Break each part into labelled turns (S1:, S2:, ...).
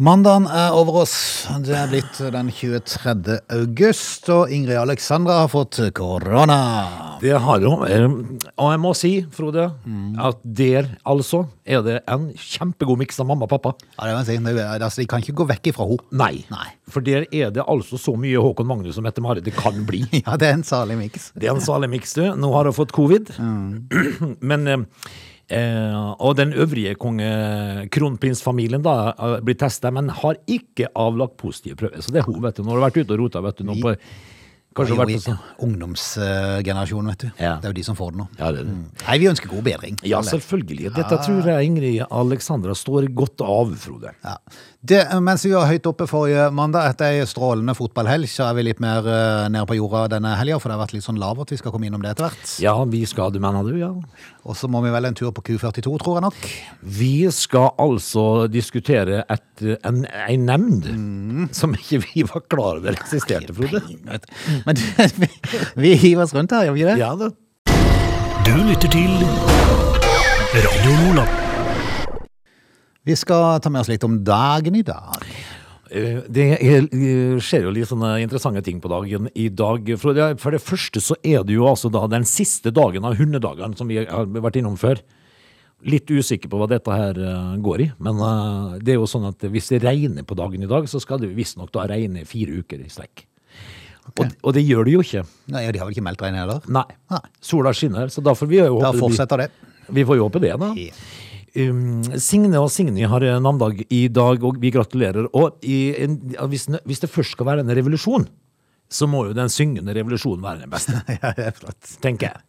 S1: Mandagen er over oss. Det er blitt den 23. august, og Ingrid Alexandra har fått korona.
S2: Det har jo eh, Og jeg må si, Frode, at der altså er det en kjempegod miks av mamma og pappa.
S1: Ja, det må jeg si. Det er- Altså, de kan ikke gå vekk ifra henne.
S2: Nei.
S1: Nei.
S2: For der er det altså så mye Håkon Magnus og Mette-Marit det kan bli.
S1: Ja, det er en salig miks.
S2: Det er en salig miks, du. Nå har hun fått covid. Men eh, eh, Og den øvrige konge kronprinsfamilien da eh, blir testa, men har ikke avlagt positive prøver. Så det er hun, vet du. Nå har hun vært ute og rota, vet du. Nå på, kanskje hun har vært på sånn
S1: Ungdomsgenerasjonen, vet du.
S2: Ja.
S1: Det er jo de som får det nå.
S2: Ja, det er det.
S1: Nei, vi ønsker god bedring.
S2: Ja, selvfølgelig. Dette tror jeg Ingrid Alexandra står godt av, Frode.
S1: Ja. Det, mens vi var høyt oppe forrige mandag etter ei strålende fotballhelg, så er vi litt mer eh, nede på jorda denne helga, for det har vært litt sånn lavt. Vi skal komme innom det etter hvert.
S2: Ja, vi skal, du mener du, ja.
S1: Og så må vi vel en tur på Q42, tror jeg nok.
S2: Vi skal altså diskutere et, en, en nemnd som ikke vi var klar over eksisterte, Frode.
S1: Men vi, vi hiver oss rundt her, gjør vi ikke det?
S2: Ja da.
S3: Du lytter til Radio Lola.
S1: Vi skal ta med oss litt om dagen i dag.
S2: Eh, Det er, eh, skjer jo litt sånne interessante ting på dagen i dag. Frode. For det første så er det jo altså da den siste dagen av hundedagene som vi har vært innom før. Litt usikker på hva dette her eh, går i, men eh, det er jo sånn at hvis det regner på dagen i dag, så skal det jo visstnok da regne fire uker i strekk. Og, og det gjør det jo ikke.
S1: Nei, De har vel ikke meldt regn heller?
S2: Nei.
S1: Nei.
S2: Sola skinner, så da får vi jo
S1: Da
S2: håpe det.
S1: fortsetter det.
S2: blir- Vi får jo håpe det, da.
S1: Ja.
S2: Um, Signe og Signy har eh, navndag i dag, og vi gratulerer. Og i en, ja, hvis, ne- hvis det først skal være en revolusjon, så må jo den syngende revolusjonen være den beste,
S1: Ja, det er flott.
S2: tenker jeg.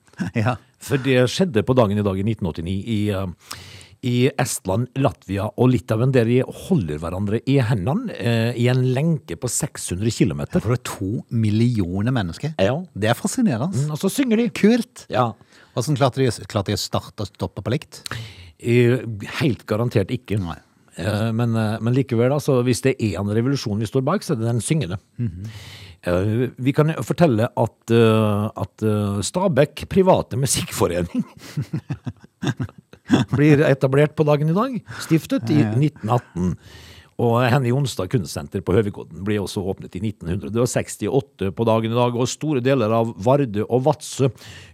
S1: Ja.
S2: For det skjedde på dagen i dag i 1989 i, eh, i Estland, Latvia og Litauen, der de holder hverandre i hendene eh, i en lenke på 600 km.
S1: For det er to millioner mennesker.
S2: Ja.
S1: Det er fascinerende.
S2: Mm, Og så synger de.
S1: Kult!
S2: Ja.
S1: Hvordan klarte de, klarte de å starte og stoppe på likt?
S2: Eh, Helt garantert ikke.
S1: Nei.
S2: Eh, Men, eh, men likevel, altså, hvis det er en revolusjon vi står bak, så er det den syngende. Eh, Vi kan jo fortelle at, eh, at eh, Stabæk private musikkforening blir etablert på dagen i dag. Stiftet i 1918. Og Henny Jonstad kunstsenter på Høvikodden ble også åpnet i 1968 på dagen i dag. Og store deler av Vardø og Vadsø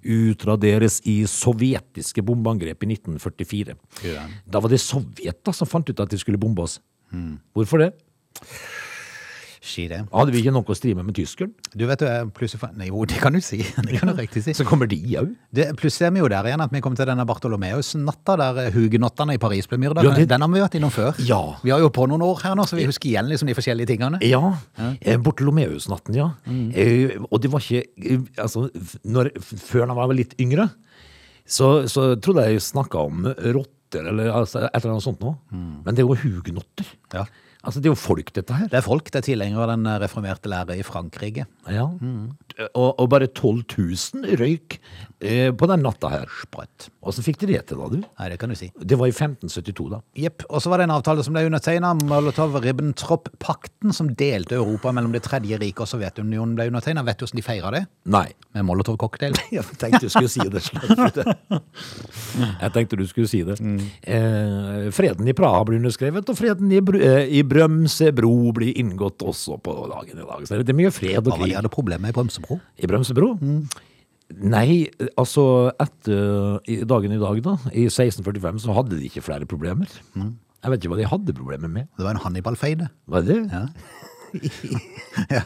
S2: utraderes i sovjetiske bombeangrep i 1944.
S1: Ja.
S2: Da var det Sovjet da som fant ut at de skulle bombe oss. Hvorfor det?
S1: Si det.
S2: Hadde vi ikke nok å stri med med tyskeren?
S1: Du vet jo, jeg plutselig fa- Nei, jo, det kan du si. Det kan du riktig si.
S2: Så kommer de òg.
S1: Det, plutselig er vi jo der igjen at vi kom til denne Bartolomeus-natta, der eh, hugenottene i Paris ble myrda.
S2: Ja, det-
S1: Den har vi vært innom før.
S2: Ja.
S1: Vi har jo på noen år her nå, så vi husker igjen liksom de forskjellige tingene.
S2: Ja. eh, Bartolomeus-natten, ja. Eh, Og det var ikke eh, Altså, f- når, f- før jeg var litt yngre, så, så trodde jeg snakka om rotter eller altså, et eller annet sånt noe. Men det er jo hugenotter.
S1: Ja.
S2: Altså, det er jo folk, dette her.
S1: Det er folk, det er tilhengere av den eh, reformerte lære i Frankrike.
S2: Ja. Mm. Og, og bare 12 000 røyk eh, på den natta her.
S1: Brøtt.
S2: Åssen fikk de det til, da, du?
S1: Nei, det kan du si.
S2: Det var i 1572, da.
S1: Jepp. Og så var det en avtale som ble undertegna, Molotov-Ribbentrop-pakten, som delte Europa mellom Det tredje riket og Sovjetunionen ble undertegna. Vet du hvordan de feira det?
S2: Nei.
S1: Med Molotov-cocktail.
S2: Jeg tenkte du skulle si det. Slagsvold. Jeg tenkte du skulle si det. Eh, freden i Praha blir underskrevet, og freden i, Br eh, i Brømsebro blir inngått også på dagen i dag. Så det er mye fred og
S1: Hva var det de
S2: krig
S1: hadde problemer med i Bremsebro?
S2: i Brømsebro. Nei, altså etter i- dagen i dag, da, i 1645, så hadde de ikke flere problemer. Jeg vet ikke hva de hadde problemer med.
S1: Det var en Hannibal-feide.
S2: Var det?
S1: Ja,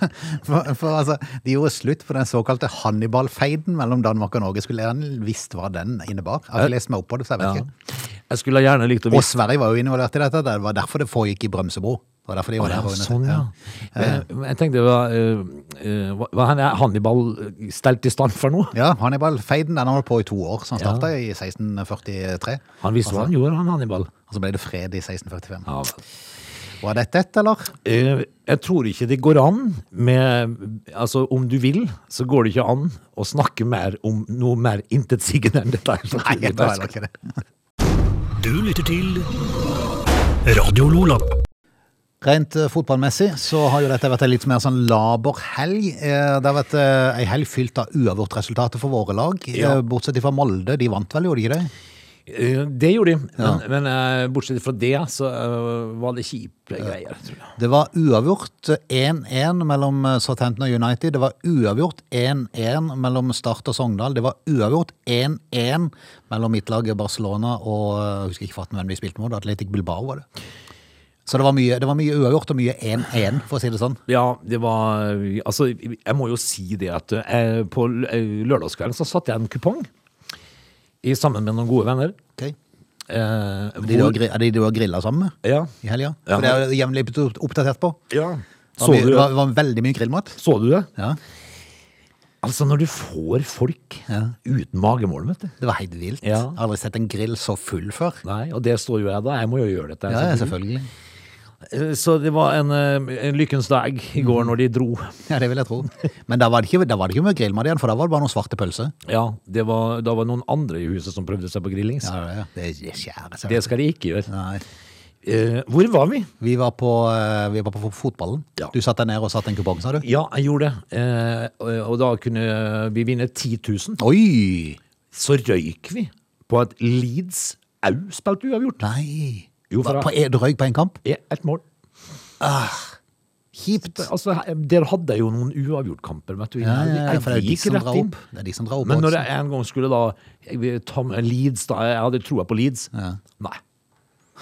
S1: for, for altså, De gjorde slutt på den såkalte Hannibal-feiden mellom Danmark og Norge. Skulle gjerne visst hva den innebar. Jeg har ikke lest meg opp på det, så jeg vet
S2: Eh, Ja.
S1: ikke.
S2: Jeg skulle gjerne likt å
S1: Og Sverige var jo involvert i dette. Det var derfor det foregikk i Brømsebro. Det var derfor de var der.
S2: Ja,
S1: og under-
S2: sånn, ja. Eh, Jeg tenkte, hva, eh, eh, hva- hva han er Hannibal stelt i stand for nå?
S1: Ja, Hannibal-feiden den har holdt på i to år, så han starta i 1643.
S2: Han visste
S1: Altså.
S2: hva han gjorde, han Hannibal.
S1: Og så ble det fred i 1645.
S2: Ja.
S1: Var dette et, eller?
S2: Eh, Jeg tror ikke det går an med Altså, om du vil, så går det ikke an å snakke mer om noe mer intetsigende enn dette. her.
S1: Nei, det var heller ikke det.
S3: Du lytter til Radio Lola.
S1: Rent eh, fotballmessig så har jo dette vært en litt mer sånn laber helg. Eh, Det har vært eh, ei helg fylt av uavgjort resultater for våre lag, eh,
S2: Ja.
S1: bortsett fra Molde. De vant vel, gjorde de ikke det?
S2: Eh, Det gjorde de, men, men eh, bortsett fra det, så eh, var det kjipe greier, tror jeg.
S1: Det var uavgjort 1-1 mellom eh, Southampton og United. Det var uavgjort 1-1 mellom Start og Sogndal. Det var uavgjort 1-1 mellom midtlaget Barcelona og eh, Jeg husker ikke farten hvem vi spilte mot. Atletic Bilbao, var det. Så det var mye, det var mye uavgjort og mye 1-1, for å si det sånn.
S2: Ja, det var Altså, jeg må jo si det at eh, på l- eh, lørdagskvelden så satte jeg en kupong i, sammen med noen gode venner.
S1: Ok.
S2: Eh,
S1: De du har, gri- er de du har grilla sammen med
S2: ja.
S1: i helga?
S2: Ja.
S1: For det er jo jevnlig opp- oppdatert på.
S2: ja.
S1: Det
S2: Så
S1: var, mye,
S2: du,
S1: det var,
S2: det?
S1: det var veldig mye grillmat.
S2: så du det?
S1: Ja,
S2: Altså, når du får folk
S1: Ja.
S2: uten magemål, vet du.
S1: Det var helt vilt.
S2: Ja.
S1: Jeg har aldri sett en grill så full før.
S2: Nei, og det står jo jeg da. Jeg må jo gjøre dette.
S1: Ja, ja, selvfølgelig.
S2: Eh, Så det var en, eh, en lykkens dag i
S1: Mm.
S2: går når de dro.
S1: Ja, Det vil jeg tro. Men da var det ikke, da var det ikke mye grillmat igjen, for da var det bare noen svarte pølser.
S2: Ja, det var, da var noen andre i huset som prøvde seg på grillings.
S1: Ja, det, det det skjærer seg.
S2: Det skal de ikke gjøre.
S1: Nei.
S2: Eh, hvor var vi?
S1: Vi var på, eh, vi var på fo- fotballen.
S2: Ja.
S1: Du satt deg ned og satte en kupong, sa du?
S2: Ja, jeg gjorde det. Eh, og- og da kunne vi vinne 10 000.
S1: Oi!
S2: Så røyk vi på at Leeds au spilte uavgjort.
S1: Nei.
S2: Jo, for
S1: Hva,
S2: da-
S1: på, du røyk på én kamp?
S2: Ja, Ett mål.
S1: Kjipt.
S2: Altså, he- Dere hadde jo noen uavgjortkamper, vet du.
S1: Ja, ja, ja,
S2: Jeg
S1: for det er jo de
S2: gikk
S1: som
S2: rett
S1: drar
S2: inn.
S1: opp. Det er de som drar opp
S2: Men når
S1: oddsen.
S2: jeg en gang skulle da jeg vil ta med Leeds da, Jeg hadde troa på Leeds. Nei.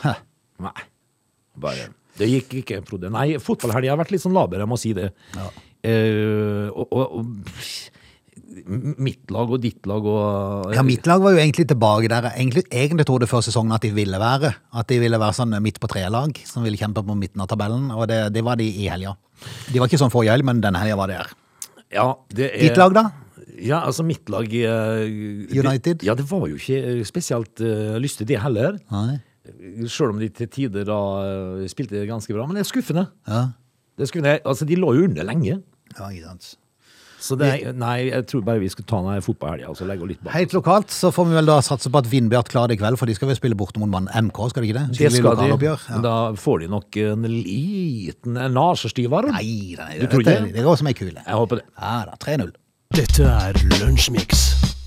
S1: Hæ.
S2: Nei. Bare, det gikk ikke, jeg trodde. Nei, fotballhelga har vært litt sånn laber, jeg må si det.
S1: Ja.
S2: Eh, og, og, og mitt lag og ditt lag og
S1: Ja, mitt lag var jo egentlig tilbake der jeg egentlig, egentlig trodde før sesongen at de ville være. At de ville være sånn midt på tre-lag som ville kjempe på midten av tabellen, og det, det var de i helga. De var ikke sånn forrige helg, men den helga var de der.
S2: Ja, det er,
S1: Ditt lag, da?
S2: Ja, altså mitt lag eh,
S1: United?
S2: Det, ja, det var jo ikke eh, spesielt eh, lystig, det heller.
S1: Nei.
S2: Sjøl om de til tider da eh, spilte ganske bra. Men det er skuffende.
S1: Ja.
S2: Det er skuffende. Altså, de lå jo under lenge.
S1: ja, ikke sant.
S2: Så det er, nei, jeg tror bare vi skal ta den her fotballhelga og så legge henne litt bak.
S1: Helt lokalt så får vi vel da satse på at Vindbjart klarer det i kveld, for de skal vel spille borte mot mann MK, skal de ikke det?
S2: Det
S1: Skikkelig
S2: skal de.
S1: lokaloppgjør, Ja.
S2: Da får de nok en liten nasestyver.
S1: Nei, nei,
S2: Du tror
S1: dette-
S2: ikke det?
S1: det går som ei kule.
S2: Jeg håper det.
S1: Ja da, 3-0.
S3: Dette er Lunsjmix.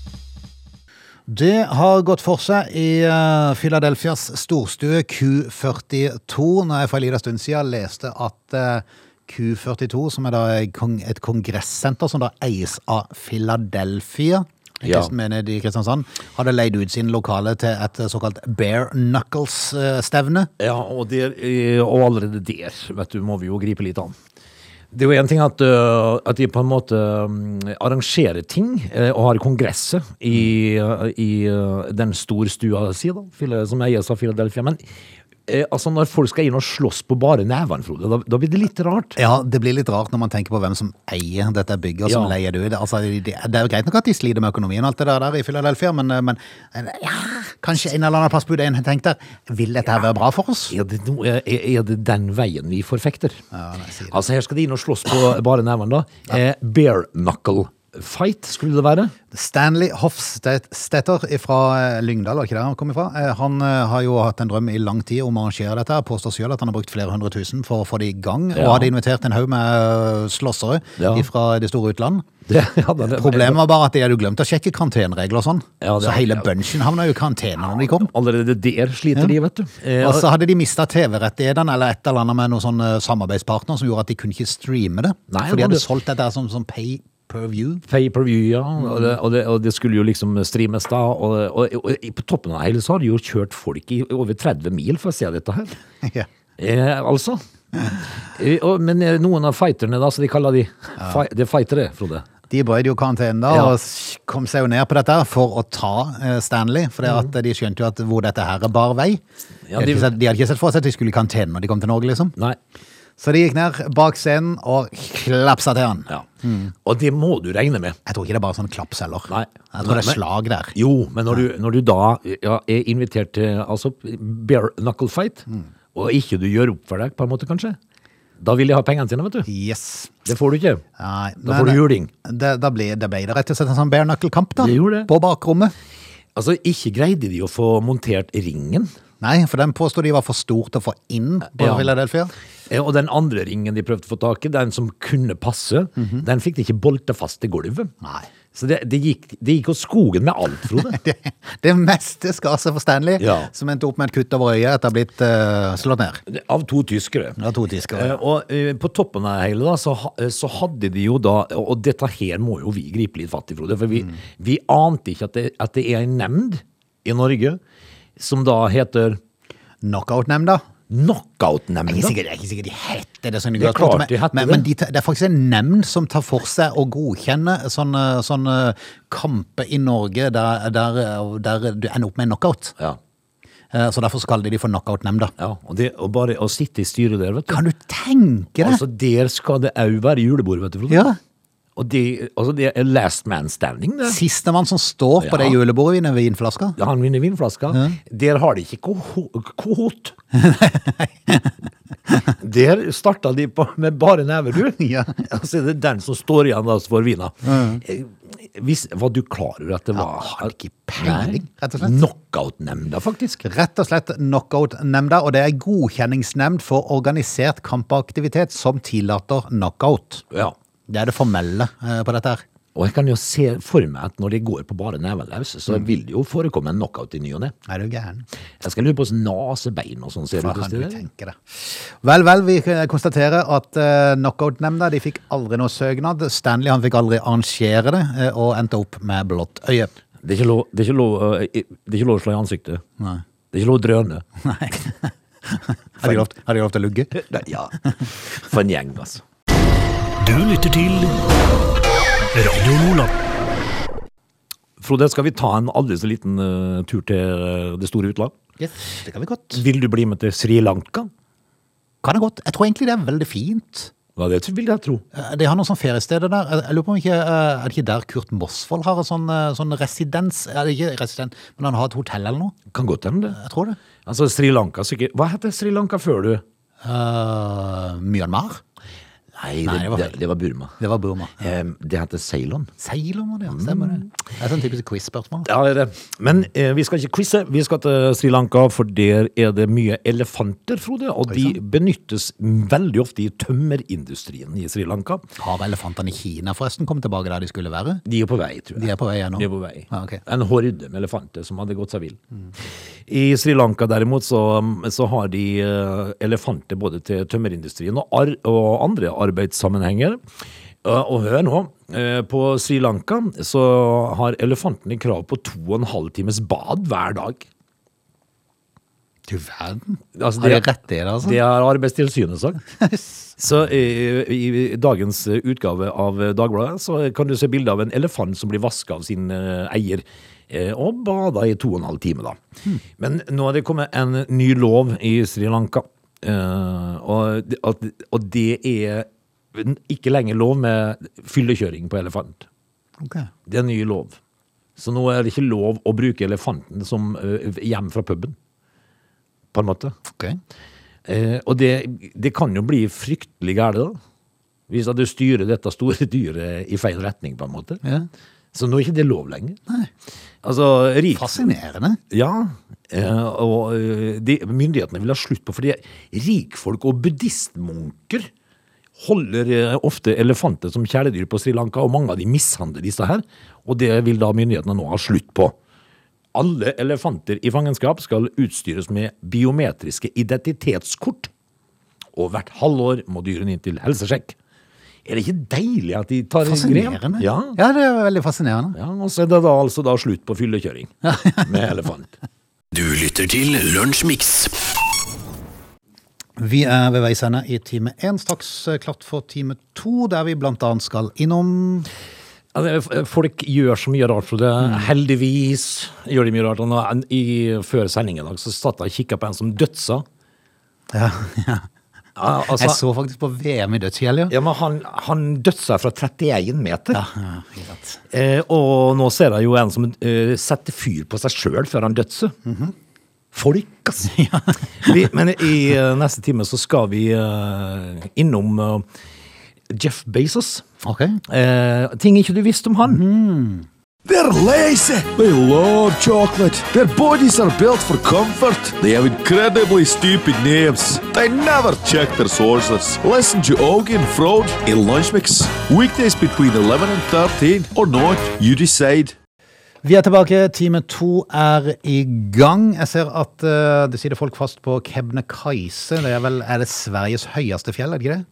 S1: Det har gått for seg i eh, Philadelphias storstue Q42. Når jeg for en liten stund siden leste at eh, Q42, som er da en kong, et kongressenter som da eies av Philadelphia,
S2: Ja.
S1: Kristen menighet i Kristiansand, hadde leid ut sine lokaler til et eh, såkalt bare eh, knuckles-stevne.
S2: Ja, og, det, eh, og allerede der vet du, må vi jo gripe litt an. Det er jo én ting at, øh, at de på en måte mm, arrangerer ting eh, og har kongresser i, øh, i øh, den storstua si, da, Phila- som eies av Philadelphia. Men eh, altså, når folk skal inn og slåss på bare nevene, Frode, da, da blir det litt rart.
S1: Ja, det blir litt rart når man tenker på hvem som eier dette bygget, og som
S2: Ja.
S1: leier det ut. Altså, det, det er jo greit nok at de sliter med økonomien og alt det der, der i Philadelphia, men, eh, men ja, kanskje en eller annen plass burde en tenkt der. Vil dette her være bra for oss?
S2: Er det, noe, er, er det den veien vi forfekter?
S1: Ja, nei, si det.
S2: Altså, her skal de inn og slåss på bare nevene, da. Eh, bare knuckle fight, skulle det være.
S1: Stanley Hofstetter fra eh, Lyngdal, var ikke der han kom ifra? Eh, Han eh, har jo hatt en drøm i lang tid om å arrangere dette. her. Påstår selv at han har brukt flere hundre tusen for å få det i gang, og
S2: Ja.
S1: hadde invitert en haug med eh, slåssere
S2: Ja.
S1: fra det store utland.
S2: Det, ja, det-
S1: Problemet var bare at de hadde jo glemt å sjekke karanteneregler og sånn.
S2: Ja, det
S1: så
S2: har-
S1: hele bunchen havna jo i karantene når de kom.
S2: Allerede der sliter de, vet du. Eh,
S1: Og så hadde de mista TV-rettighetene eller et eller annet med noen sånn eh, samarbeidspartner som gjorde at de kunne ikke streame det.
S2: Nei,
S1: for de
S2: men
S1: hadde
S2: det-
S1: solgt dette her som, som pay per view.
S2: Pay per view, ja. Og det, og, det, og det skulle jo liksom streames da. Og, og, og, i- på toppen av det hele så har de jo kjørt folk i over 30 mil for å se dette her.
S1: ja.
S2: Eh, altså. Eh, og, men eh, noen av fighterne, da, som de kaller de fi, Det er fightere, Frode.
S1: De brøyd jo karantenen da,
S2: Ja.
S1: og s- kom seg jo ned på dette her for å ta eh, Stanley. For det at de skjønte jo at hvor dette her bar vei.
S2: Mhm. Ja,
S1: de, hadde
S2: de-
S1: ikke sett, de hadde ikke sett for seg at de skulle i karantene når de kom til Norge, liksom.
S2: Nei.
S1: Så de gikk ned bak scenen og klapsa til han.
S2: Ja. Mm. Og det må du regne med.
S1: Jeg tror ikke det er bare sånn klaps heller.
S2: Nei.
S1: Jeg tror det er
S2: Men-
S1: slag der.
S2: Jo, men når du, når du da ja, er invitert til altså, bare knuckle fight, og ikke du gjør opp for deg, på en måte, kanskje, da vil de ha pengene sine, vet du.
S1: Yes.
S2: Det får du ikke.
S1: Nei,
S2: Da får du juling.
S1: Det, da ble det ble det rett og slett en sånn bare knuckle-kamp, da.
S2: Det gjorde det.
S1: På bakrommet.
S2: Altså, ikke greide de å få montert ringen.
S1: Nei, for den påstod de var for stor til å få inn på
S2: Ja.
S1: Philadelphia.
S2: Eh, Eh, Og den andre ringen de prøvde å få tak i, den som kunne passe, den fikk de ikke bolta fast til gulvet.
S1: Mhm. Nei.
S2: Så det, det gikk, det gikk hos skogen med alt, Frode.
S1: Det, det meste skal seg for Stanley,
S2: Ja.
S1: som endte opp med et kutt over øyet etter å ha blitt eh, slått ned.
S2: Av to tyskere.
S1: Det var to tisker.
S2: Eh, Og eh, på toppen av det hele da, så, ha- eh, så hadde de jo da, og og dette her må jo vi gripe litt fatt i, Frode, for
S1: Mm.
S2: vi, vi ante ikke at det, at det er en nemnd i Norge som da heter
S1: Knockoutnemnda. Jeg er ikke
S2: knockout-nemnda.
S1: sikker, jeg er ikke sikker de heter det. Sånn,
S2: Det er klart de heter
S1: men,
S2: det.
S1: men de, ta- det er faktisk en nemnd som tar for seg å godkjenne sånn, eh, sånne, sånne kamper i Norge der, der, der du ender opp med en knockout.
S2: Ja,
S1: Eh, Så derfor så kaller de de for knockoutnemnda.
S2: ja, og det og bare å sitte i styret der, vet du.
S1: Kan du tenke deg?
S2: Altså, der skal det òg være julebord, vet du, Frode.
S1: Ja.
S2: Og det, altså, det er last man standing, det.
S1: Sistemann som står på
S2: Ja.
S1: det julebordet vinner vinflaska.
S2: Ja, Han vinner vinflaska. Der har de ikke koho- kohot. Der starta de på med bare never, du.
S1: Ja.
S2: Og så er det den som står igjen da for vina. Eh, Hvis, var du klar over at det var
S1: har ikke peiling,
S2: Nei.
S1: rett og slett.
S2: Knockout-nemnda, faktisk.
S1: Rett og slett knockoutnemnda, og det er godkjenningsnemnd for organisert kampaktivitet som tillater knockout.
S2: Ja.
S1: Det er det formelle eh, på dette her.
S2: Og jeg kan jo se for meg at når de går på bare neven løs, så
S1: Mm.
S2: vil det jo forekomme en knockout i ny og ne.
S1: Er du gæren?
S2: Jeg skal lure på hvordan nasebein og sånn ser
S1: Hva
S2: ut. hos
S1: kan du
S2: de der.
S1: tenke deg? Vel, vel, vi eh, konstaterer at eh, knockoutnemnda de fikk aldri noe søknad. Stanley han fikk aldri arrangere det, eh, og endte opp med blått øye.
S2: Det er ikke lov, det er ikke lov, eh, i- det er ikke lov å slå i ansiktet. Det er ikke lov å drøne.
S1: Nei. Har de lov, har de lov til å lugge?
S2: Nei, ja. For en gjeng, altså.
S3: Du lytter til Radio Lola.
S2: Frode, skal vi ta en aldri så liten eh, tur til eh, det store utland?
S1: det kan vi godt.
S2: Vil du bli med til Sri Lanka?
S1: Kan jeg godt. Jeg tror egentlig det er veldig fint.
S2: Ja, det vil jeg tro.
S1: Eh, De har noen sånne feriesteder der. Jeg- Jeg lurer på om ikke, eh, Er det ikke der Kurt Mosvold har en sånn, eh, sånn residens? Er det ikke resident, men han har et hotell eller noe?
S2: Kan godt hende det.
S1: Jeg tror det.
S2: Altså, Sri Lanka sikkert Hva heter Sri Lanka før du?
S1: Eh, Myanmar? Nei,
S2: Nei, det,
S1: det
S2: det,
S1: var-
S2: det, var Burma.
S1: Det var Burma.
S2: Eh, det heter Ceylon.
S1: Seiler må det, ja. Stemmer det. Det er sånn typisk quiz-spørsmål.
S2: Ja, det er det. Men eh, vi skal ikke quize. Vi skal til Sri Lanka, for der er det mye elefanter, Frode. Og de benyttes veldig ofte i tømmerindustrien i Sri Lanka.
S1: Har elefantene i Kina forresten kommet tilbake der de skulle være?
S2: De er på vei, tror jeg.
S1: De er på vei igjen nå.
S2: De er på vei.
S1: Ja, ok.
S2: En horde med elefanter som hadde gått seg vill. I Sri Lanka derimot så, så har de eh, elefanter både til tømmerindustrien og, ar og andre arbeidssammenhenger. Eh, Og hør nå, eh, på Sri Lanka så har elefantene krav på to og en halv times bad hver dag.
S1: Du verden.
S2: Altså,
S1: har de
S2: det-
S1: rett i det, altså?
S2: Det har Arbeidstilsynet sagt. Så eh, i, i dagens eh, utgave av eh, Dagbladet så kan du se bilde av en elefant som blir vaska av sin eh, eier. eh, Og bada i to og en halv time, da. Men nå er det kommet en ny lov i Sri Lanka. eh, og, det- at, og det er ikke lenger lov med fyllekjøring på elefant.
S1: Ok.
S2: Det er en ny lov. Så nå er det ikke lov å bruke elefanten som eh, hjem fra puben. På en måte.
S1: Ok.
S2: Eh, og det, det kan jo bli fryktelig gærent, da. Hvis at du styrer dette store dyret i feil retning, på en måte.
S1: Ja.
S2: Så nå er ikke det lov lenger.
S1: Nei.
S2: Altså, rik...
S1: Fascinerende.
S2: Ja. Eh, og eh, de, myndighetene vil ha slutt på, fordi rikfolk og buddhistmunker holder eh, ofte elefanter som kjæledyr på Sri Lanka, og mange av de mishandler disse her. Og det vil da myndighetene nå ha slutt på. Alle elefanter i fangenskap skal utstyres med biometriske identitetskort. Og hvert halvår må dyrene inn til helsesjekk. Er det ikke deilig at de tar en grep?
S1: Fascinerende.
S2: Ja.
S1: det er veldig fascinerende.
S2: ja, og så er det da altså da slutt på fyllekjøring med elefant.
S3: Du lytter til Lunsjmix.
S1: Vi er ved veis ende i time én, straks eh, klart for time to, der vi blant annet skal innom
S2: Ja, det er Altså, f- Folk gjør så mye rart, Frode.
S1: Mm.
S2: Heldigvis gjør de mye rart. Og nå, en- i, før sending i dag så satt jeg og kikka på en som dødsa.
S1: ja, ja.
S2: Ja, altså,
S1: Jeg så faktisk på VM i dødskjell, ja.
S2: ja, men han, han dødsa fra 31 meter.
S1: Ja, ikke sant.
S2: Eh, og nå ser jeg jo en som eh, setter fyr på seg sjøl før han dødser.
S1: Mhm.
S2: Folk, altså. vi, men i eh, neste time så skal vi eh, innom eh, Jeff Bezos.
S1: Ok.
S2: Eh, ting ikke du visste om han.
S4: They're lazy. They love chocolate. Their bodies are built for comfort. They have incredibly stupid names. They never check their sources. Listen to Augie and Frode in Lunch Mix. Weekdays between 11 and 13 or not, you decide.
S1: Vi er tilbake. Time to er i gang. Jeg ser at eh, det sitter folk fast på Kebnekaise. Det er vel er det Sveriges høyeste fjell, er det ikke det?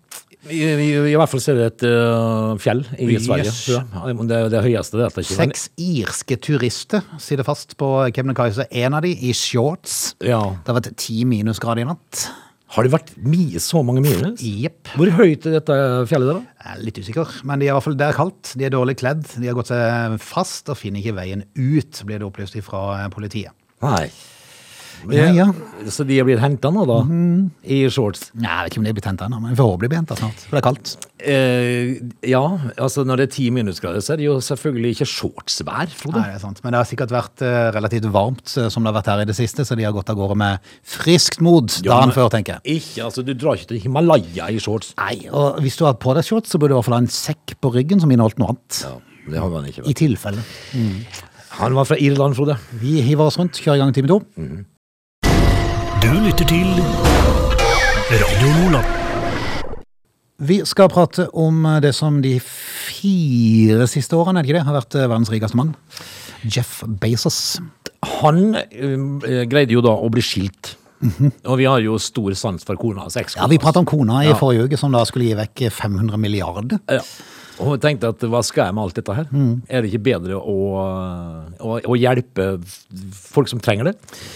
S2: I, i, I hvert fall så er det et øh, fjell i
S1: Yes.
S2: Sverige. tror jeg. Ja, men Det, det høyeste det er det ikke. men-
S1: Seks irske turister sitter fast på Kebnekaise. En av de i shorts.
S2: Ja.
S1: Det har vært ti minusgrader i natt.
S2: Har det vært mi, så mange minus?
S1: Jepp.
S2: Hvor høyt er dette fjellet der, da?
S1: Jeg er litt usikker, men de er i hvert fall der kaldt. De er dårlig kledd. De har gått seg fast og finner ikke veien ut, blir det opplyst fra politiet.
S2: Nei. Eh,
S1: Ja, ja.
S2: Så de er blitt henta nå, da? I shorts?
S1: Nei, Jeg vet ikke om de blir henta ennå, men forhåpentlig blir henta snart. For det er kaldt.
S2: Eh, ja, altså når det er ti minusgrader, så er det jo selvfølgelig ikke shortsvær, Frode.
S1: Nei, det er sant. Men det har sikkert vært eh, relativt varmt eh, som det har vært her i det siste, så de har gått av gårde med friskt mot dagen før, tenker jeg.
S2: Ikke, altså Du drar ikke til Himalaya i shorts.
S1: Nei, og hvis du har på deg shorts, så burde du i hvert fall ha en sekk på ryggen som inneholdt noe annet.
S2: Ja, det har man ikke.
S1: I tilfelle.
S2: Han var fra Irland, Frode.
S1: Vi hiver oss rundt, kjører i gang time to.
S3: Du lytter til Radio Lola.
S1: Vi skal prate om eh, det som de fire siste årene, er det ikke det, har vært eh, verdens rikeste mann. Jeff Bezos.
S2: Han eh, greide jo da å bli skilt. Og vi har jo stor sans for kona hans
S1: Ja,
S2: ekskone.
S1: Vi prata om kona i
S2: Ja.
S1: forrige uke, som da skulle gi vekk eh, 500 milliarder.
S2: Ja. Og hun tenkte at hva skal jeg med alt dette her?
S1: Mm.
S2: Er det ikke bedre å, å, å hjelpe folk som trenger det?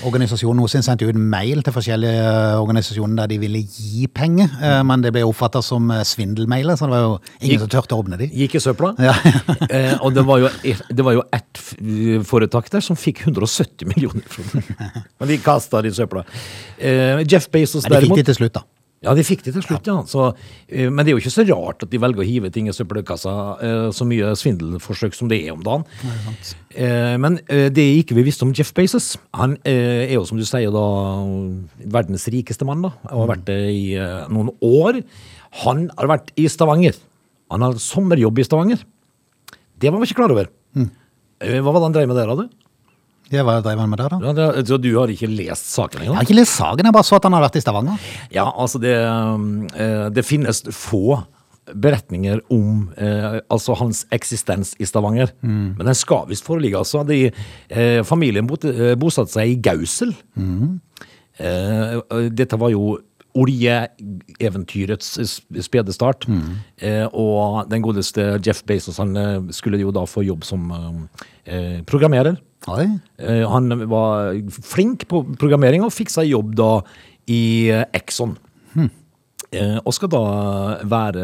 S1: Organisasjonen hos sin sendte jo ut mail til forskjellige eh, organisasjoner der de ville gi penger, eh,
S2: Mm.
S1: men det ble oppfatta som eh, svindelmailer, så det var jo ingen som turte å åpne de.
S2: Gikk i søpla.
S1: Ja.
S2: eh, og det var, jo, det var jo ett f- foretak der som fikk 170 millioner kroner. Men de kasta det i søpla. Eh, Jeff Bezos
S1: Men det fikk
S2: derimot
S1: de til slutt, da.
S2: Ja, de fikk det til slutt, ja. Så, eh, men det er jo ikke så rart at de velger å hive ting i søppelkassa, eh, så mye svindelforsøk som det er om dagen. Eh, men eh, det ikke vi visste om Jeff Bezos, han eh, er jo som du sier da verdens rikeste mann, da, og har vært det i eh, noen år. Han har vært i Stavanger. Han har sommerjobb i Stavanger. Det var vi ikke klar over. Eh, Hva var det han drev med der, hadde?
S1: Det var drev han med der, da.
S2: Ja, det- Så du har ikke lest saken engang?
S1: Jeg har ikke lest saken, jeg bare så at han har vært i Stavanger.
S2: Ja, altså det, um, eh, det finnes få beretninger om eh, altså hans eksistens i Stavanger. Men den skal visst foreligge. altså. De, eh, familien bot- eh, bosatte seg i Gausel. Eh, og dette var jo oljeeventyrets sp- spede start. Eh, og den godeste Jeff Bezos han eh, skulle jo da få jobb som eh, programmerer.
S1: Oi.
S2: Eh, Han var flink på programmering og fikk seg jobb da i eh, Exxon. Eh, Og skal da være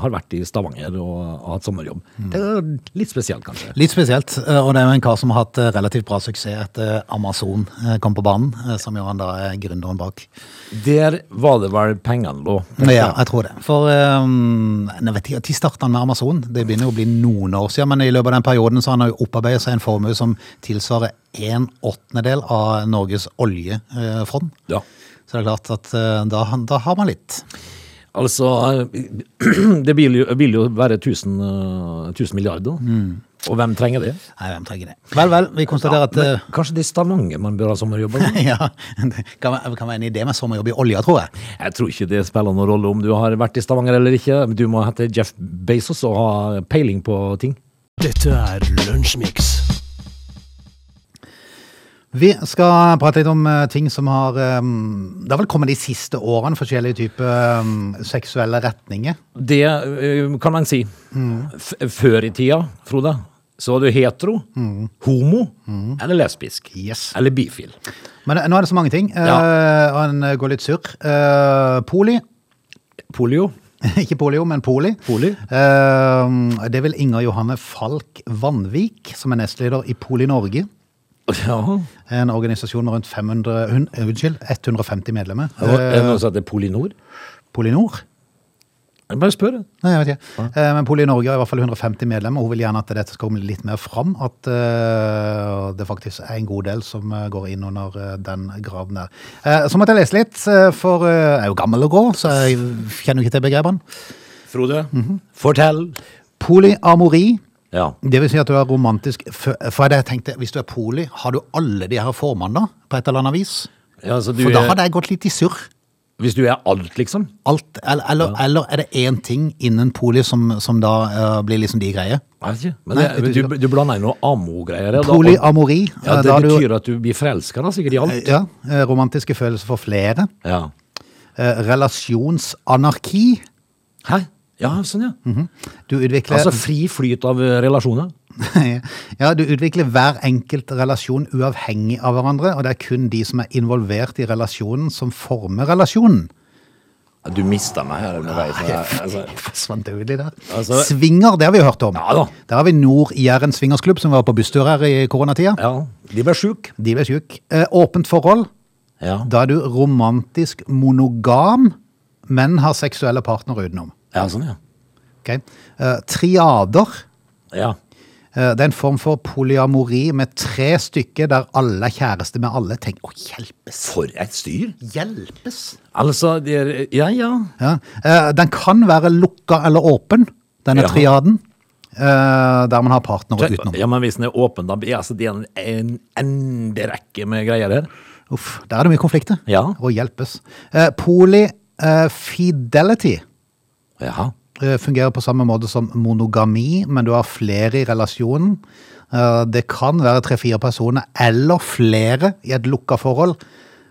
S2: Har vært i Stavanger og har hatt sommerjobb. Det er litt spesielt, kanskje.
S1: Litt spesielt, eh, og det er jo en kar som har hatt eh, relativt bra suksess etter Amazon eh, kom på banen, eh, som jo han da er gründeren bak.
S2: Der var det vel pengene lå.
S1: Ja, jeg tror det. For eh, jeg vet ikke, Når starta han med Amazon? Det begynner jo å bli noen år siden, men i løpet av den perioden så har han jo opparbeidet seg en formue som tilsvarer en åttendedel av Norges oljefond.
S2: Ja.
S1: Så det er klart at eh, da, da har man litt.
S2: Altså eh, Det vil jo, vil jo være 1000, eh, 1000 milliarder. Og hvem trenger det?
S1: Nei, hvem trenger det? Vel, vel, vi konstaterer at
S2: Men
S1: eh,
S2: Kanskje det er Stavanger man bør ha sommerjobb? i?
S1: ja, det kan være, kan være en idé med sommerjobb i olja, tror jeg.
S2: Jeg tror ikke det spiller noen rolle om du har vært i Stavanger eller ikke. Du må hete Jeff Bezos og ha peiling på ting.
S3: Dette er Lunsjmix.
S1: Vi skal prate litt om eh, ting som har eh, Det har vel kommet de siste årene, forskjellige typer eh, seksuelle retninger.
S2: Det eh, kan man si. F før i tida, Frode, så var du hetero, homo eller lesbisk.
S1: Yes.
S2: Eller bifil.
S1: Men eh, nå er det så mange ting, eh,
S2: Ja.
S1: og en eh, går litt surr. Eh, Poli.
S2: Polio.
S1: Ikke polio, men poli.
S2: Poli.
S1: Eh, det vil Inger Johanne Falk Vanvik, som er nestleder i Poli Norge.
S2: Ja.
S1: En organisasjon med rundt 500, hun, eh, unnskyld, 150 medlemmer.
S2: Er det
S1: Eh,
S2: noe som heter Polinor?
S1: Polinor?
S2: Jeg bare spør.
S1: Nei, jeg vet ikke. Eh, Men Poli Norge har i hvert fall 150 medlemmer, og hun vil gjerne at dette skal komme litt mer fram. At eh, det faktisk er en god del som eh, går inn under eh, den graven der. Eh, så måtte jeg lese litt, eh, for eh, jeg er jo gammel og grå, så jeg kjenner jo ikke til begrepene.
S2: Frode, fortell.
S1: Polyamori
S2: Ja.
S1: Det vil si at du er romantisk For for jeg tenkte, hvis du er poli, har du alle de her formene da, på et eller annet vis?
S2: Ja, så du
S1: For da
S2: er-
S1: hadde jeg gått litt i surr.
S2: Hvis du er alt, liksom?
S1: Alt, eller, eller, eller er det én ting innen poli som, som da eh, blir liksom de greier?
S2: Jeg vet ikke. Men
S1: Nei,
S2: det,
S1: jeg vet
S2: du, du blander inn noe amo-greier. her, da.
S1: Polyamori. eh,
S2: Ja, det
S1: da er du-
S2: betyr at du blir forelska, da, sikkert i alt.
S1: Ja, eh, romantiske følelser for flere.
S2: Ja.
S1: Eh, Relasjonsanarki.
S2: Hæ? Ja, sånn, ja.
S1: Du utvikler
S2: Altså fri flyt av eh, relasjoner.
S1: ja, du utvikler hver enkelt relasjon uavhengig av hverandre, og det er kun de som er involvert i relasjonen, som former relasjonen.
S2: Du mista meg her underveis. Altså,
S1: Forsvant det ut i der.
S2: Altså-
S1: Svinger, det har vi hørt om.
S2: Ja da.
S1: Der har vi Nord-Jæren swingersklubb, som var på busstur her i koronatida.
S2: ja. De ble sjuke.
S1: De ble sjuke. Eh, åpent forhold.
S2: Ja.
S1: Da er du romantisk monogam, men har seksuelle partnere utenom.
S2: ja, sånn, ja.
S1: Ok? Eh, triader.
S2: Ja.
S1: Eh, Det er en form for polyamori med tre stykker der alle er kjæreste med alle. Tenk, å hjelpes!
S2: For et styr.
S1: Hjelpes!
S2: Altså, det er Ja, ja.
S1: Ja. eh, Den kan være lukka eller åpen, denne
S2: Jaha.
S1: triaden. eh, Der man har partnere utenom.
S2: Ja, Men hvis den er åpen, da blir altså, det er en, en enderekke med greier her.
S1: Uff, der er det mye konflikter.
S2: Ja.
S1: Å hjelpes. Eh, Poly eh, fidelity
S2: Ja.
S1: eh, fungerer på samme måte som monogami, men du har flere i relasjonen. Eh, Det kan være tre-fire personer eller flere i et lukka forhold,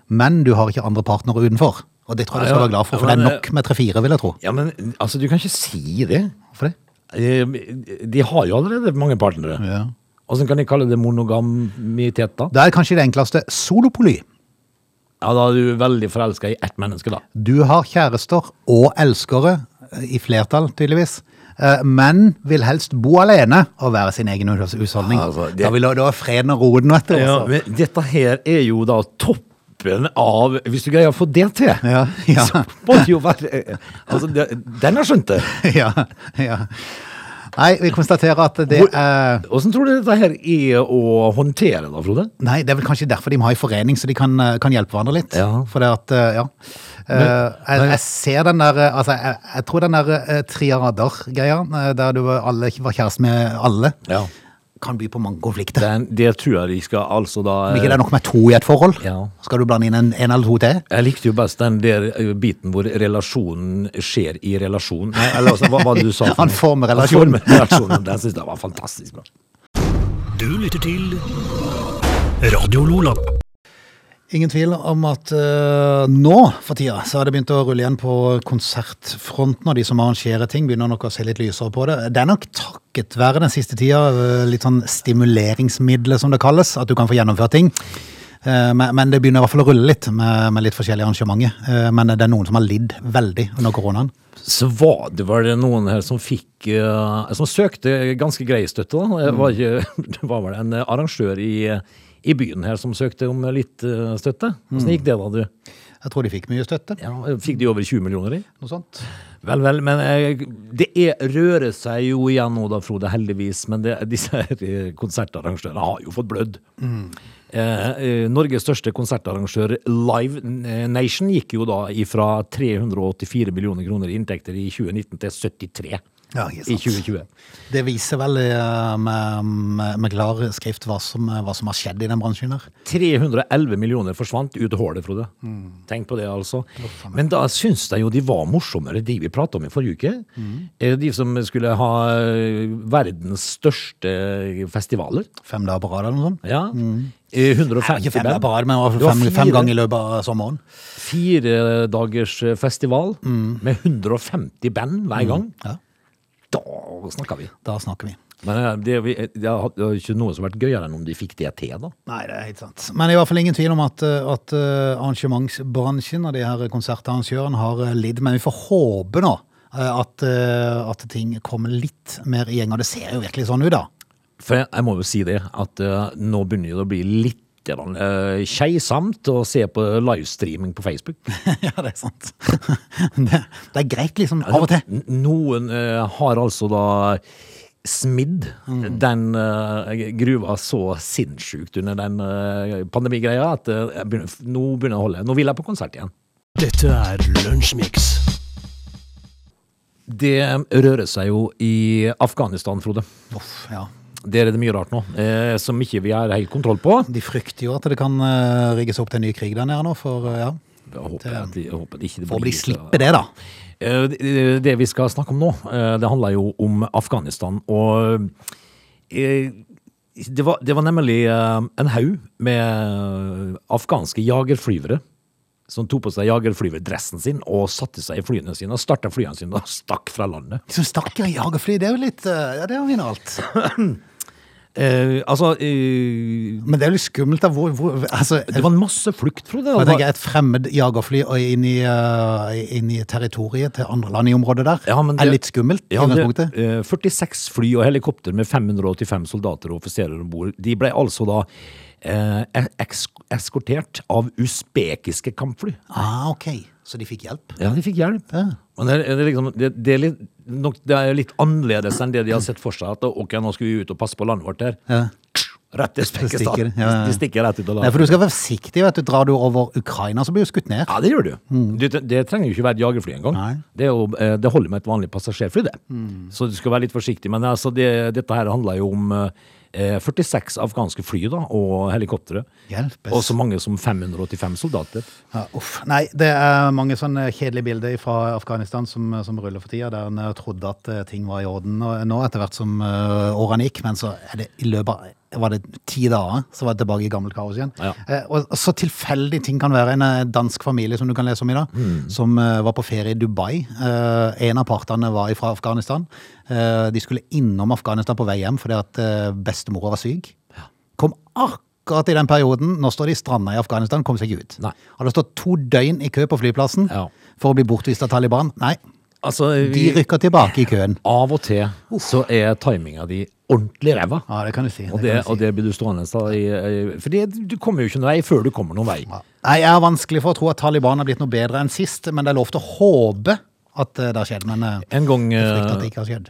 S1: men du har ikke andre partnere utenfor. Og det tror jeg du
S2: Ja,
S1: skal
S2: ja.
S1: være glad for, for
S2: Ja,
S1: det er
S2: men,
S1: nok med tre-fire, vil jeg tro.
S2: Ja, men altså, du kan ikke si det.
S1: Hvorfor det?
S2: Eh, De har jo allerede mange partnere.
S1: Ja.
S2: Åssen kan de kalle det monogamitet, da?
S1: Da er kanskje det enkleste solopoly.
S2: Ja, Da er du veldig forelska i ett menneske, da.
S1: Du har kjærester og elskere, eh, i flertall tydeligvis, eh, men vil helst bo alene og være sin egen hus- husholdning.
S2: Ja, Ah, altså, det-
S1: Da vil du ha freden og roden, vet du.
S2: Ja,
S1: altså.
S2: men dette her er jo da toppen av Hvis du greier å få det til,
S1: Ja, ja.
S2: så må det jo være Altså, det, den har skjønt det.
S1: ja, ja. Nei, vi konstaterer at det
S2: Hvor-
S1: er
S2: Åssen tror du dette her er å håndtere, da, Frode?
S1: Nei, det er vel kanskje derfor de må ha en forening, så de kan, eh, kan hjelpe hverandre litt.
S2: Ja.
S1: For det at, eh, ja. Eh, jeg, jeg ser den der eh, Altså, jeg, jeg tror den der eh, triader-greia, eh, der du alle var kjæreste med alle,
S2: Ja.
S1: kan by på mange konflikter.
S2: Den, det tror jeg de skal altså da
S1: Om ikke det er nok med to i et forhold,
S2: Ja.
S1: skal du blande inn en, en eller to til?
S2: eh, Jeg likte jo best den der eh, biten hvor relasjonen skjer i relasjon. Nei, eller altså, hva var det du sa? for
S1: Han
S2: noe?
S1: former
S2: Han
S1: relasjonen.
S2: former relasjonen. Den syns jeg var fantastisk bra.
S3: Du lytter til Radio Lola.
S1: Ingen tvil om at eh, nå for tida så har det begynt å rulle igjen på konsertfronten, og de som arrangerer ting begynner nok å se litt lysere på det. Det er nok takket være den siste tida eh, litt sånn stimuleringsmidler, som det kalles, at du kan få gjennomført ting. Eh, men, men det begynner i hvert fall å rulle litt med, med litt forskjellige arrangementer. Eh, men det er noen som har lidd veldig under koronaen.
S2: Så var det vel noen her som fikk eh, Som søkte ganske grei støtte, da. Det var, ikke, det var vel en eh, arrangør i, i byen her som søkte om litt eh, støtte. Åssen gikk det, da, du?
S1: Jeg tror de fikk mye støtte.
S2: Ja, fikk de over 20 millioner i?
S1: Noe sånt.
S2: Vel, vel, men eh, det er, rører seg jo igjen nå da, Frode, heldigvis. Men det, disse her, eh, konsertarrangørene har jo fått blødd. Eh, eh, Norges største konsertarrangør Live Nation gikk jo da fra 384 millioner kroner i inntekter i 2019 til 73
S1: Ja, ikke
S2: i
S1: sant.
S2: 2020.
S1: Det viser vel eh, med, med, med klar skrift hva som, hva som har skjedd i den bransjen her.
S2: 311 millioner forsvant ut hålet, Frode.
S1: Mm.
S2: Tenk på det, altså. Men da syns jeg jo de var morsommere, de vi prata om i forrige uke.
S1: Mm.
S2: Eh, De som skulle ha eh, verdens største festivaler.
S1: Fem dager på rad eller noe sånt.
S2: Ja. Eh, 150
S1: Mm. Ikke fem dager
S2: band.
S1: på rad, men i hvert fall
S2: Det var
S1: fem,
S2: fire.
S1: fem ganger i løpet av sommeren.
S2: Fire dagers eh, festival
S1: Mm.
S2: med 150 band hver gang.
S1: Ja,
S2: Da snakker vi.
S1: da snakker vi.
S2: Men eh, det, vi- eh, det har det har ikke noe som har vært gøyere enn om de fikk det til, da.
S1: Nei, det er helt sant. Men det er i hvert fall ingen tvil om at, eh, at eh, arrangementsbransjen og de her konsertarrangørene har eh, lidd. Men vi får håpe nå eh, at, eh, at ting kommer litt mer i gjeng. Og det ser jo virkelig sånn ut, da.
S2: For jeg, jeg må jo si det, at eh, nå begynner det å bli litt uh, skeisamt å se på livestreaming på Facebook.
S1: ja, det er sant. det, det er greit, liksom. Av og til.
S2: N- Noen eh, har altså da smidd
S1: Mm.
S2: den eh, gruva så sinnssykt under den eh, pandemigreia at eh, jeg begynner, f- nå begynner det å holde. Nå vil jeg på konsert igjen.
S3: Dette er Lunsjmix.
S2: Det rører seg jo i Afghanistan, Frode.
S1: Uff, ja.
S2: Der er det mye rart nå, eh, som ikke vi har helt kontroll på.
S1: De frykter jo at det kan eh, rigges opp til en ny krig der nede nå, for eh, ja.
S2: Jeg håper, at de, jeg håper ikke det
S1: Får
S2: blir
S1: de slippe det, da.
S2: Eh, det- Det vi skal snakke om nå, eh, det handler jo om Afghanistan. Og eh, det var, det var nemlig eh, en haug med afghanske jagerflyvere som tok på seg jagerflyverdressen sin og satte seg i flyene sine og starta flyene sine og stakk fra landet.
S1: De som stakk i jagerfly, det er jo litt eh, Ja, det er originalt.
S2: Eh, altså eh,
S1: Men det er jo litt skummelt, da. Hvor, hvor altså,
S2: Det var en masse flukt, Frode.
S1: jeg tenker, Et fremmed jagerfly og inn i, eh, inn i territoriet til andre land i området der
S2: Ja, men det-
S1: er litt skummelt. i
S2: Ja, det,
S1: utgangspunktet.
S2: eh, 46 fly og helikopter med 585 soldater og offiserer om bord. De ble altså da eh, eks eskortert av usbekiske kampfly.
S1: Ah, ok. Så de fikk hjelp?
S2: Ja, de fikk hjelp.
S1: Ja.
S2: Men det, er- det, er liksom, det, det, er litt, nok, det er litt annerledes enn det de har sett for seg. At ok, nå skal vi ut og passe på landet vårt her.
S1: Ja.
S2: Rett til
S1: Så
S2: Usbekistan.
S1: stikker de. Ja, ja, ja.
S2: De stikker rett ut av
S1: Nei,
S2: landet.
S1: for du skal være forsiktig. vet du. Drar du over Ukraina, så blir du skutt ned.
S2: Ja, det gjør du. Det, det trenger jo ikke være et jagerfly engang.
S1: Mm. Nei. Mm.
S2: Det, er jo, eh, det holder med et vanlig passasjerfly, det. Så du skal være litt forsiktig. Men altså, det, dette her handler jo om eh, 46 afghanske fly da, og helikoptre.
S1: Hjelpes.
S2: Og så mange som 585 soldater.
S1: Ja, uff. Nei, det er mange sånne kjedelige bilder fra Afghanistan som, som ruller for tida, der en eh, trodde at eh, ting var i orden og nå etter hvert som eh, årene gikk. Men så er det i løpet av var det ti dager, så var det tilbake i gammelt kaos igjen.
S2: Ja.
S1: Eh, og så tilfeldig ting kan være. En eh, dansk familie som du kan lese om i dag, som eh, var på ferie i Dubai. Eh, en av partene var fra Afghanistan. Eh, de skulle innom Afghanistan på vei hjem fordi at eh, bestemora var syk. Kom akkurat i den perioden. Nå står de stranda i Afghanistan, kom seg ikke ut.
S2: Nei.
S1: Hadde stått to døgn i kø på flyplassen
S2: Ja.
S1: for å bli bortvist av Taliban. Nei,
S2: Altså,
S1: de
S2: vi,
S1: rykker tilbake i køen.
S2: av og til så er timinga di ordentlig ræva.
S1: Ja, det kan du si.
S2: Og
S1: det
S2: det,
S1: kan du si.
S2: og det blir du stående da i, i- For det, du kommer jo ikke noen vei før du kommer noen vei.
S1: Ja. Nei, Jeg har vanskelig for å tro at Taliban har blitt noe bedre enn sist, men det er lov til å håpe at eh, det har skjedd. Men eh, jeg
S2: En gang
S1: frykter
S2: eh,
S1: at det ikke har skjedd.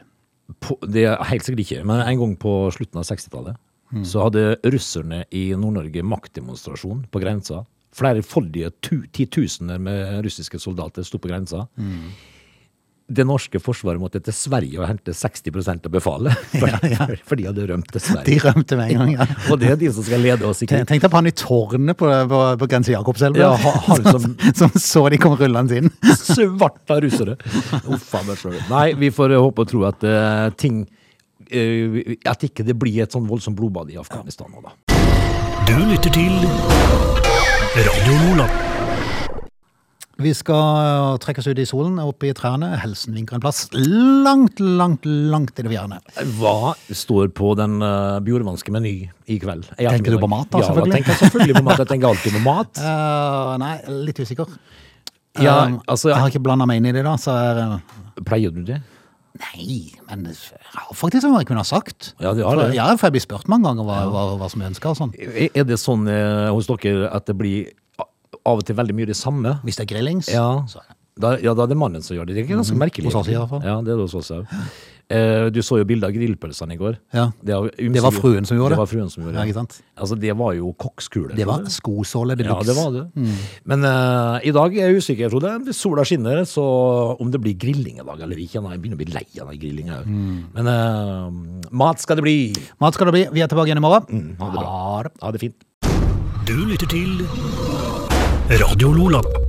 S2: på, Det er helt sikkert ikke, men en gang på slutten av 60-tallet så hadde russerne i Nord-Norge maktdemonstrasjon på grensa. Flerfoldige tu, titusener med russiske soldater sto på grensa. Det norske forsvaret måtte til Sverige og hente 60 av befalet, for, for de hadde rømt til
S1: De
S2: Sverige.
S1: rømte med en gang. ja.
S2: Og det er de som skal lede oss i krig.
S1: Tenk tenk deg på han i tårnet på, på, på grense Jakobselv,
S2: Ja, han- han
S1: som, som så de kom rullende inn.
S2: Svarta russere. Uffa meg sjøl. Nei, vi får eh, håpe og tro at eh, ting eh, At ikke det blir et sånn voldsomt blodbad i Afghanistan nå, da.
S3: Du lytter til Radio Lola.
S1: Vi skal trekkes ut i solen, opp i trærne. Helsen vinker en plass langt, langt, langt i det fjerne.
S2: Hva står på den uh, bjordvanske meny i kveld? I
S1: Tenker du på
S2: ettermiddag?
S1: mat da, selvfølgelig?
S2: Ja, da tenker jeg selvfølgelig på mat. Jeg tenker alltid på mat.
S1: Eh, nei, litt usikker.
S2: Ja,
S1: Eh,
S2: altså-
S1: Jeg har ikke blanda meg inn i det, da. Så er, eh,
S2: Pleier du det?
S1: nei, men jeg har faktisk noe jeg kunne ha sagt.
S2: Ja, du har det.
S1: For, ja, for jeg blir spurt mange ganger hva, hva, hva som jeg ønsker og sånn.
S2: Er er det sånn eh, hos dere at det blir a- av og til veldig mye det samme?
S1: Hvis det er grillings,
S2: Ja.
S1: så er det
S2: Da, ja, da er det mannen som gjør det. Det er ganske merkelig.
S1: Mhm. Hos oss i hvert fall.
S2: Ja, det er det hos oss også. Eh, du så jo bilde av grillpølsene i går.
S1: Ja.
S2: Det, er jo ymse-
S1: Det var fruen som gjorde det.
S2: det. var fruen som gjorde
S1: Ja,
S2: det.
S1: ikke sant?
S2: Altså, det var jo kokskule.
S1: Det var skosåle de
S2: Ja, det var det. Men eh, i dag er jeg usikker, Frode. Sola skinner, så om det blir grilling i dag eller ikke Nei, Jeg begynner å bli lei av den grillinga. Men eh, mat skal det bli.
S1: Mat skal det bli. Vi er tilbake igjen i morgen.
S2: Mm, ha det bra.
S1: Ha det.
S2: Ha det fint.
S3: Du lytter til Radio Lola.